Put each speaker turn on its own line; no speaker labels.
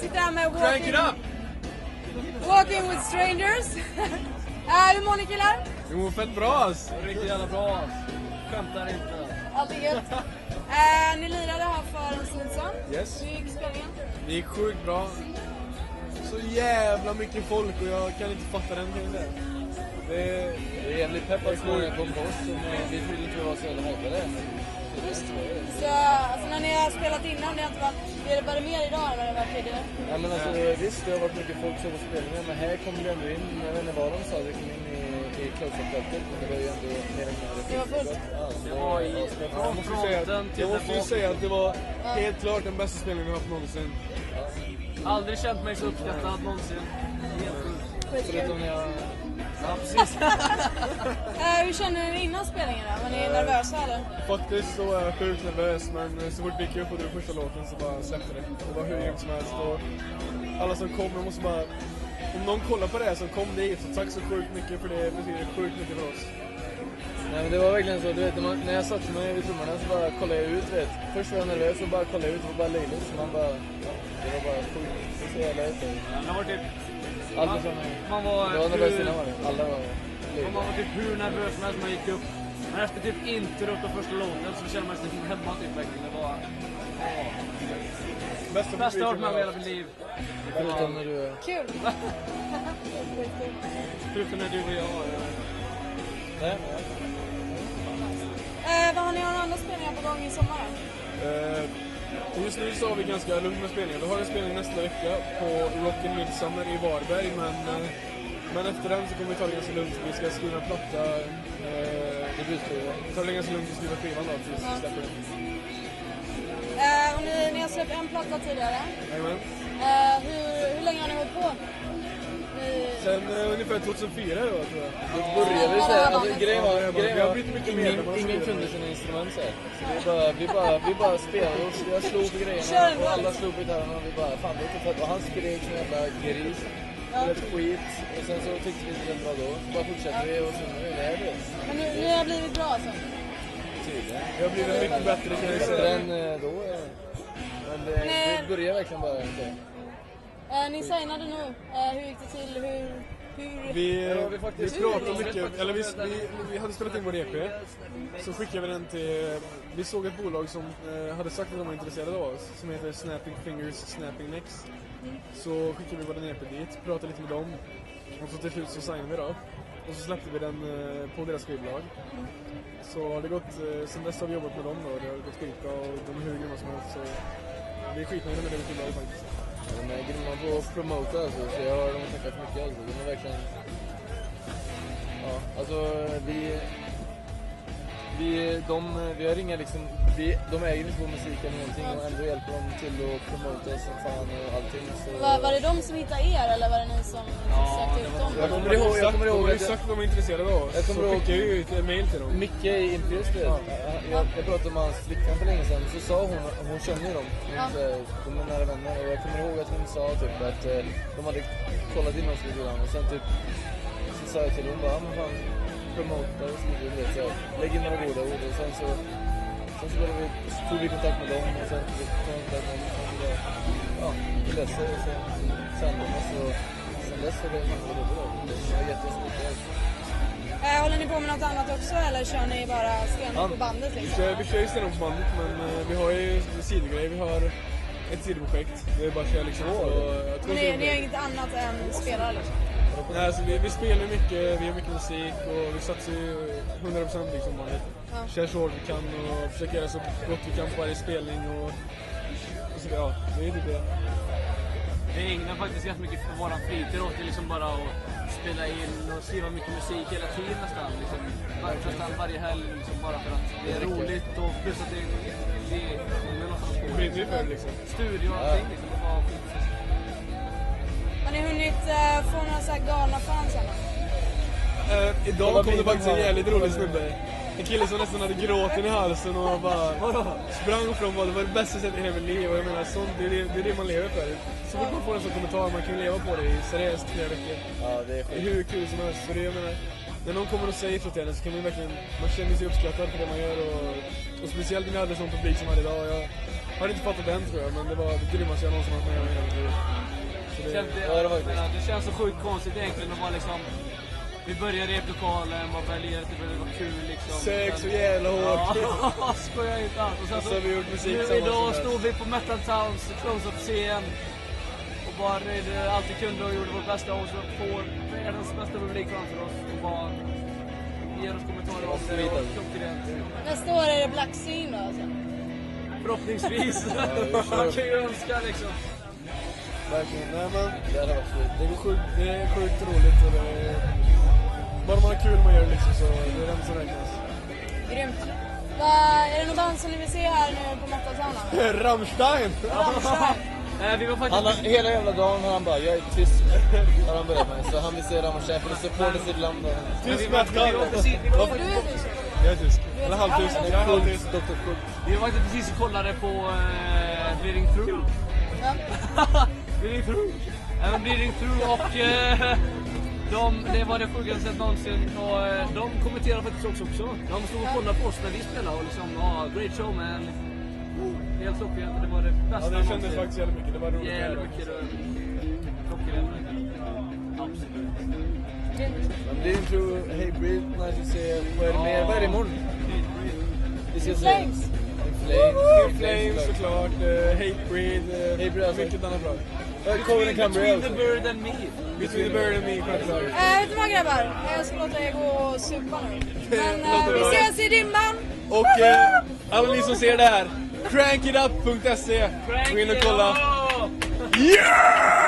sit down and
Crank
walking,
it up!
walking with strangers. Eh, Hur mår ni killar?
Vi mår fett bra ass. Riktigt jävla bra ass. Skämtar inte.
Allt är gött. Eh, ni lirade här för en stund sedan.
Yes.
Hur gick spelningen?
Det gick sjukt bra. Så jävla mycket folk och jag kan inte fatta den tiden. Det är...
Det är jävligt pepp att snurra på oss. men Vi trodde inte vi var så jävla hypade.
Så, alltså när ni har spelat innan, det har inte varit... Är det bara mer idag än vad det var tidigare?
Ja, men alltså, visst, det har varit mycket folk som på spelningar, men här kom det ändå in, jag vet inte vad de sa, det kom in i, i close-up-fältet. Men det var ju ändå mer än mindre.
Det var fullt.
Ja,
Det var i,
Jag
från
måste ju säga,
fronten till
jag
den
måste ju
baken.
säga att det var helt klart den bästa spelningen vi haft någonsin.
Aldrig känt mig så uppskattad någonsin. Helt sjukt.
Förutom när jag...
Ja, precis.
Eh, hur kände ni innan spelningen då? Var ni nervösa eller?
Faktiskt så var jag sjukt nervös men så fort vi gick upp och drog första låten så bara släppte det. Det var hur grymt som helst och alla som kom, jag måste bara... Om någon kollar på det här som kom dit så tack så sjukt mycket för det betyder sjukt mycket för oss.
Nej, men det var verkligen så, du vet, när, man, när jag satte mig vid trummorna så bara kollade jag ut, vet. Först var jag nervös och bara kollade ut, det var bara löjligt. Så man bara... Ja, det var bara sjukt. Det var så jävla häftigt.
Man var typ...
Alla som...
Man var,
Det var nervöst
hur-
innan var det. Alla var
man
löjliga.
var typ hur nervös som helst man gick upp. Men efter typ introt och första låten så kände man sig typ hemma typ verkligen. Det var
Bästa,
det bästa jag har varit med om i hela
publiken
mitt liv.
Förutom när du...
Kul!
Förutom när du och jag var
Nej,
Eh, vad har ni några andra spelningar på gång i sommar då?
Eh, Just nu så har vi ganska lugnt med spelningar. Vi har en spelning nästa vecka på Rock and Midsummer i Varberg men, eh, men efter den så kommer vi ta det ganska lugnt. Vi ska skriva en platta, eh,
debutskiva.
ta det ganska lugnt och skriva skivan då tills vi släpper den.
Eh, och ni, ni har släppt en platta tidigare.
Jajamän.
Eh, hur, hur länge har ni hållit på? Ni,
Sen eh, ungefär 2004 då tror jag.
Då började vi såhär, alltså grejen var, grejen
Vi har
var
blivit mycket
ingen,
medlemmar.
ingen kunde sina instrument såhär. Så vi bara, vi bara, vi bara spelade och jag slog på
Kör en
grejerna och
låt.
alla slog på gitarrerna och vi bara, fan det är fett. Och han skrek som en jävla gris. Helt skit. Och sen så tyckte vi inte det var bra då. Så bara fortsatte vi och så nu är vi här då.
men ni, ni har blivit bra alltså?
Tydligen.
Vi har blivit mycket bättre kan jag
Bättre
säga.
än eh, då. ja. Men det,
Nej.
det började verkligen bara inte.
Eh, ni signade nu. Eh, hur gick det till? Hur... hur...
Vi,
Ja, vi
vi,
faktiskt-
pratade mycket, eller vi, vi, vi hade spelat in vår EP, så skickade vi den till, vi såg ett bolag som eh, hade sagt att de var intresserade av oss, som heter Snapping Fingers Snapping Necks. Så skickade vi vår EP dit, pratade lite med dem, och så till slut så signade vi då. Och så släppte vi den eh, på deras skivbolag. Så har det gått, eh, sen dess har vi jobbat med dem då, och det har gått skitbra och de är hur grymma som helst. Så vi är skitnöjda med det vi skivbolaget faktiskt.
De är grymma på att promota alltså, så jag har dem att tacka så mycket alltså. De är verkligen... Ja, alltså vi... Vi, de, vi har inga liksom, vi, de äger inte vår musik eller någonting och ändå hjälper de till att promota som fan och allting. Så...
Var, var det de som hittade er eller var det ni som sökte ut dem?
Jag kommer ihåg, jag kommer
de
ihåg
har ju
att jag,
sagt att de är intresserade av oss,
Jag
så
kommer ihåg-
skickade vi ut en mail till dem.
Micke i Imperius vet, jag, jag pratade med hans flickvän för länge sedan, så sa hon, hon känner ju dem, hon,
Ja.
eh, de är nära vänner och jag kommer ihåg att hon sa typ att eh, de hade kollat in oss lite grann och sen typ så sa jag till hon bara, "Ja, men fan promota och så vidare, du vet, så jag lägger in några goda ord och sen så sen så, började vi, så tog vi kontakt med dem och sen tog vi kontakt med dem och sen så bara, ja, vi läste och sen sände de oss och sen dess har det varit jättebra. Det har gett oss mycket.
Eh, håller ni på med något annat också eller kör ni bara stenhårt på bandet
Vi
liksom?
kör, vi kör ju stenhårt på bandet men eh, vi har ju sidogrejer. Vi har ett sidoprojekt. Det är bara att köra liksom. Så, jag tror
Men ni, ni har
vi,
inget annat än spelare liksom?
nej, alltså, vi, vi spelar ju mycket, vi gör mycket musik och vi satsar ju 100% liksom på bandet.
Ja.
Kör så hårt vi kan och försöker göra så gott vi kan på varje spelning och, och så, ja, det är typ det.
Vi ägnar faktiskt ganska mycket av vår fritid åt det, liksom bara att spela in och skriva mycket musik hela tiden nästan. Liksom, var- nästan varje helg liksom, bara för att det är roligt och plus att det det- det är någonstans
Det
på
brinner ju för det liksom.
studio och allting. Liksom, det var skit.
Har ni hunnit eh, få några så här galna fans än?
Eh,
Kolla
idag kom det
bilden
faktiskt en
här.
jävligt rolig snubbe. En kille som nästan hade gråten i halsen och bara sprang från vad det var det bästa sättet i hela mitt liv. Och jag menar, sånt, det, är det, det är det man lever för. Så fort man får en sån kommentar, man kan ju leva på det i seriöst flera veckor.
Ja, det är
Det är
skit.
hur kul som helst. För det, jag menar, när någon kommer och säger så till en så kan man ju verkligen, man känner sig uppskattad för det man gör. Och, och speciellt när vi hade sån publik som vi hade idag. Jag, Har inte fattat det än tror jag, men det var det grymmaste jag någonsin varit med om i hela mitt liv. Så det-
Kände-
Ja, det var faktiskt.
Det känns så sjukt konstigt egentligen att vara liksom... Vi börjar replokalen, man börjar lira, det börjar vara kul liksom.
Sex
Men-
och jävla hårt.
Ja, skojar inte alls. Och sen
så har vi gjort musik
nu,
tillsammans
Idag
som
stod vi på Metal Towns close-up-scen och bara röjde allt vi kunde och gjorde vårt bästa och så får världens bästa publik framför oss och bara ger oss kommentarer om det och klockrent.
Nästa år är det Black Scene då alltså.
Förhoppningsvis.
vi kör.
Man kan ju önska liksom.
Verkligen.
Nej men,
Det hade varit skit.
det är sjukt, det är sjukt roligt och det är... Bara man har kul man gör det liksom så det är det enda som räknas.
Grymt. Va, är det någon band som ni vill se här nu på Metal Town? eller?
Rammstein!
Rammstein.
Nej, vi var faktiskt...
Han har, hela jävla dagen har han bara, jag är tysk. Har han börjat med. Så han vill se Rammstein för att supporta sitt land.
men vi, var, vi, var precis, vi,
Du
var,
är tysk.
Jag är tysk. Eller halvtysk.
Ja, men-
Jag är halvtysk.
Dr. Schultz.
vi var faktiskt precis och kollade på eh, Bleeding Through.
Ja.
Bleeding Through. Även Bleeding Through och eh, de, det var det sjukaste jag sett någonsin. Och, eh, de kommenterade faktiskt också, också. De stod och kollade på oss när vi spelade och liksom, ja, great show man. Helt klockrent. Det var det
Ja,
bästa
det kändes
någonsin.
faktiskt jävligt mycket. Det var roligt.
Jävligt mycket rör. klockrent. Absolut.
Grymt.
Men det är en true, hey breathe, nice to see you. Vad är det mer? Vad är det imorgon? Vi ses
Flames.
Flames.
Flames
såklart.
såklart, uh, Hatebreed, eh,
Hatebreed, alltså.
mycket annat bra.
Ja, Coven and Cambria
Between the
också.
bird and me.
Between the bird and me, självklart.
Eh, vet du vad grabbar? Jag ska låta er gå och supa nu. Men eh, vi ses i dimman.
Och eh, alla ni som ser det här, crankitup.se. Gå in och kolla.
Frankie, ja!
Yeah!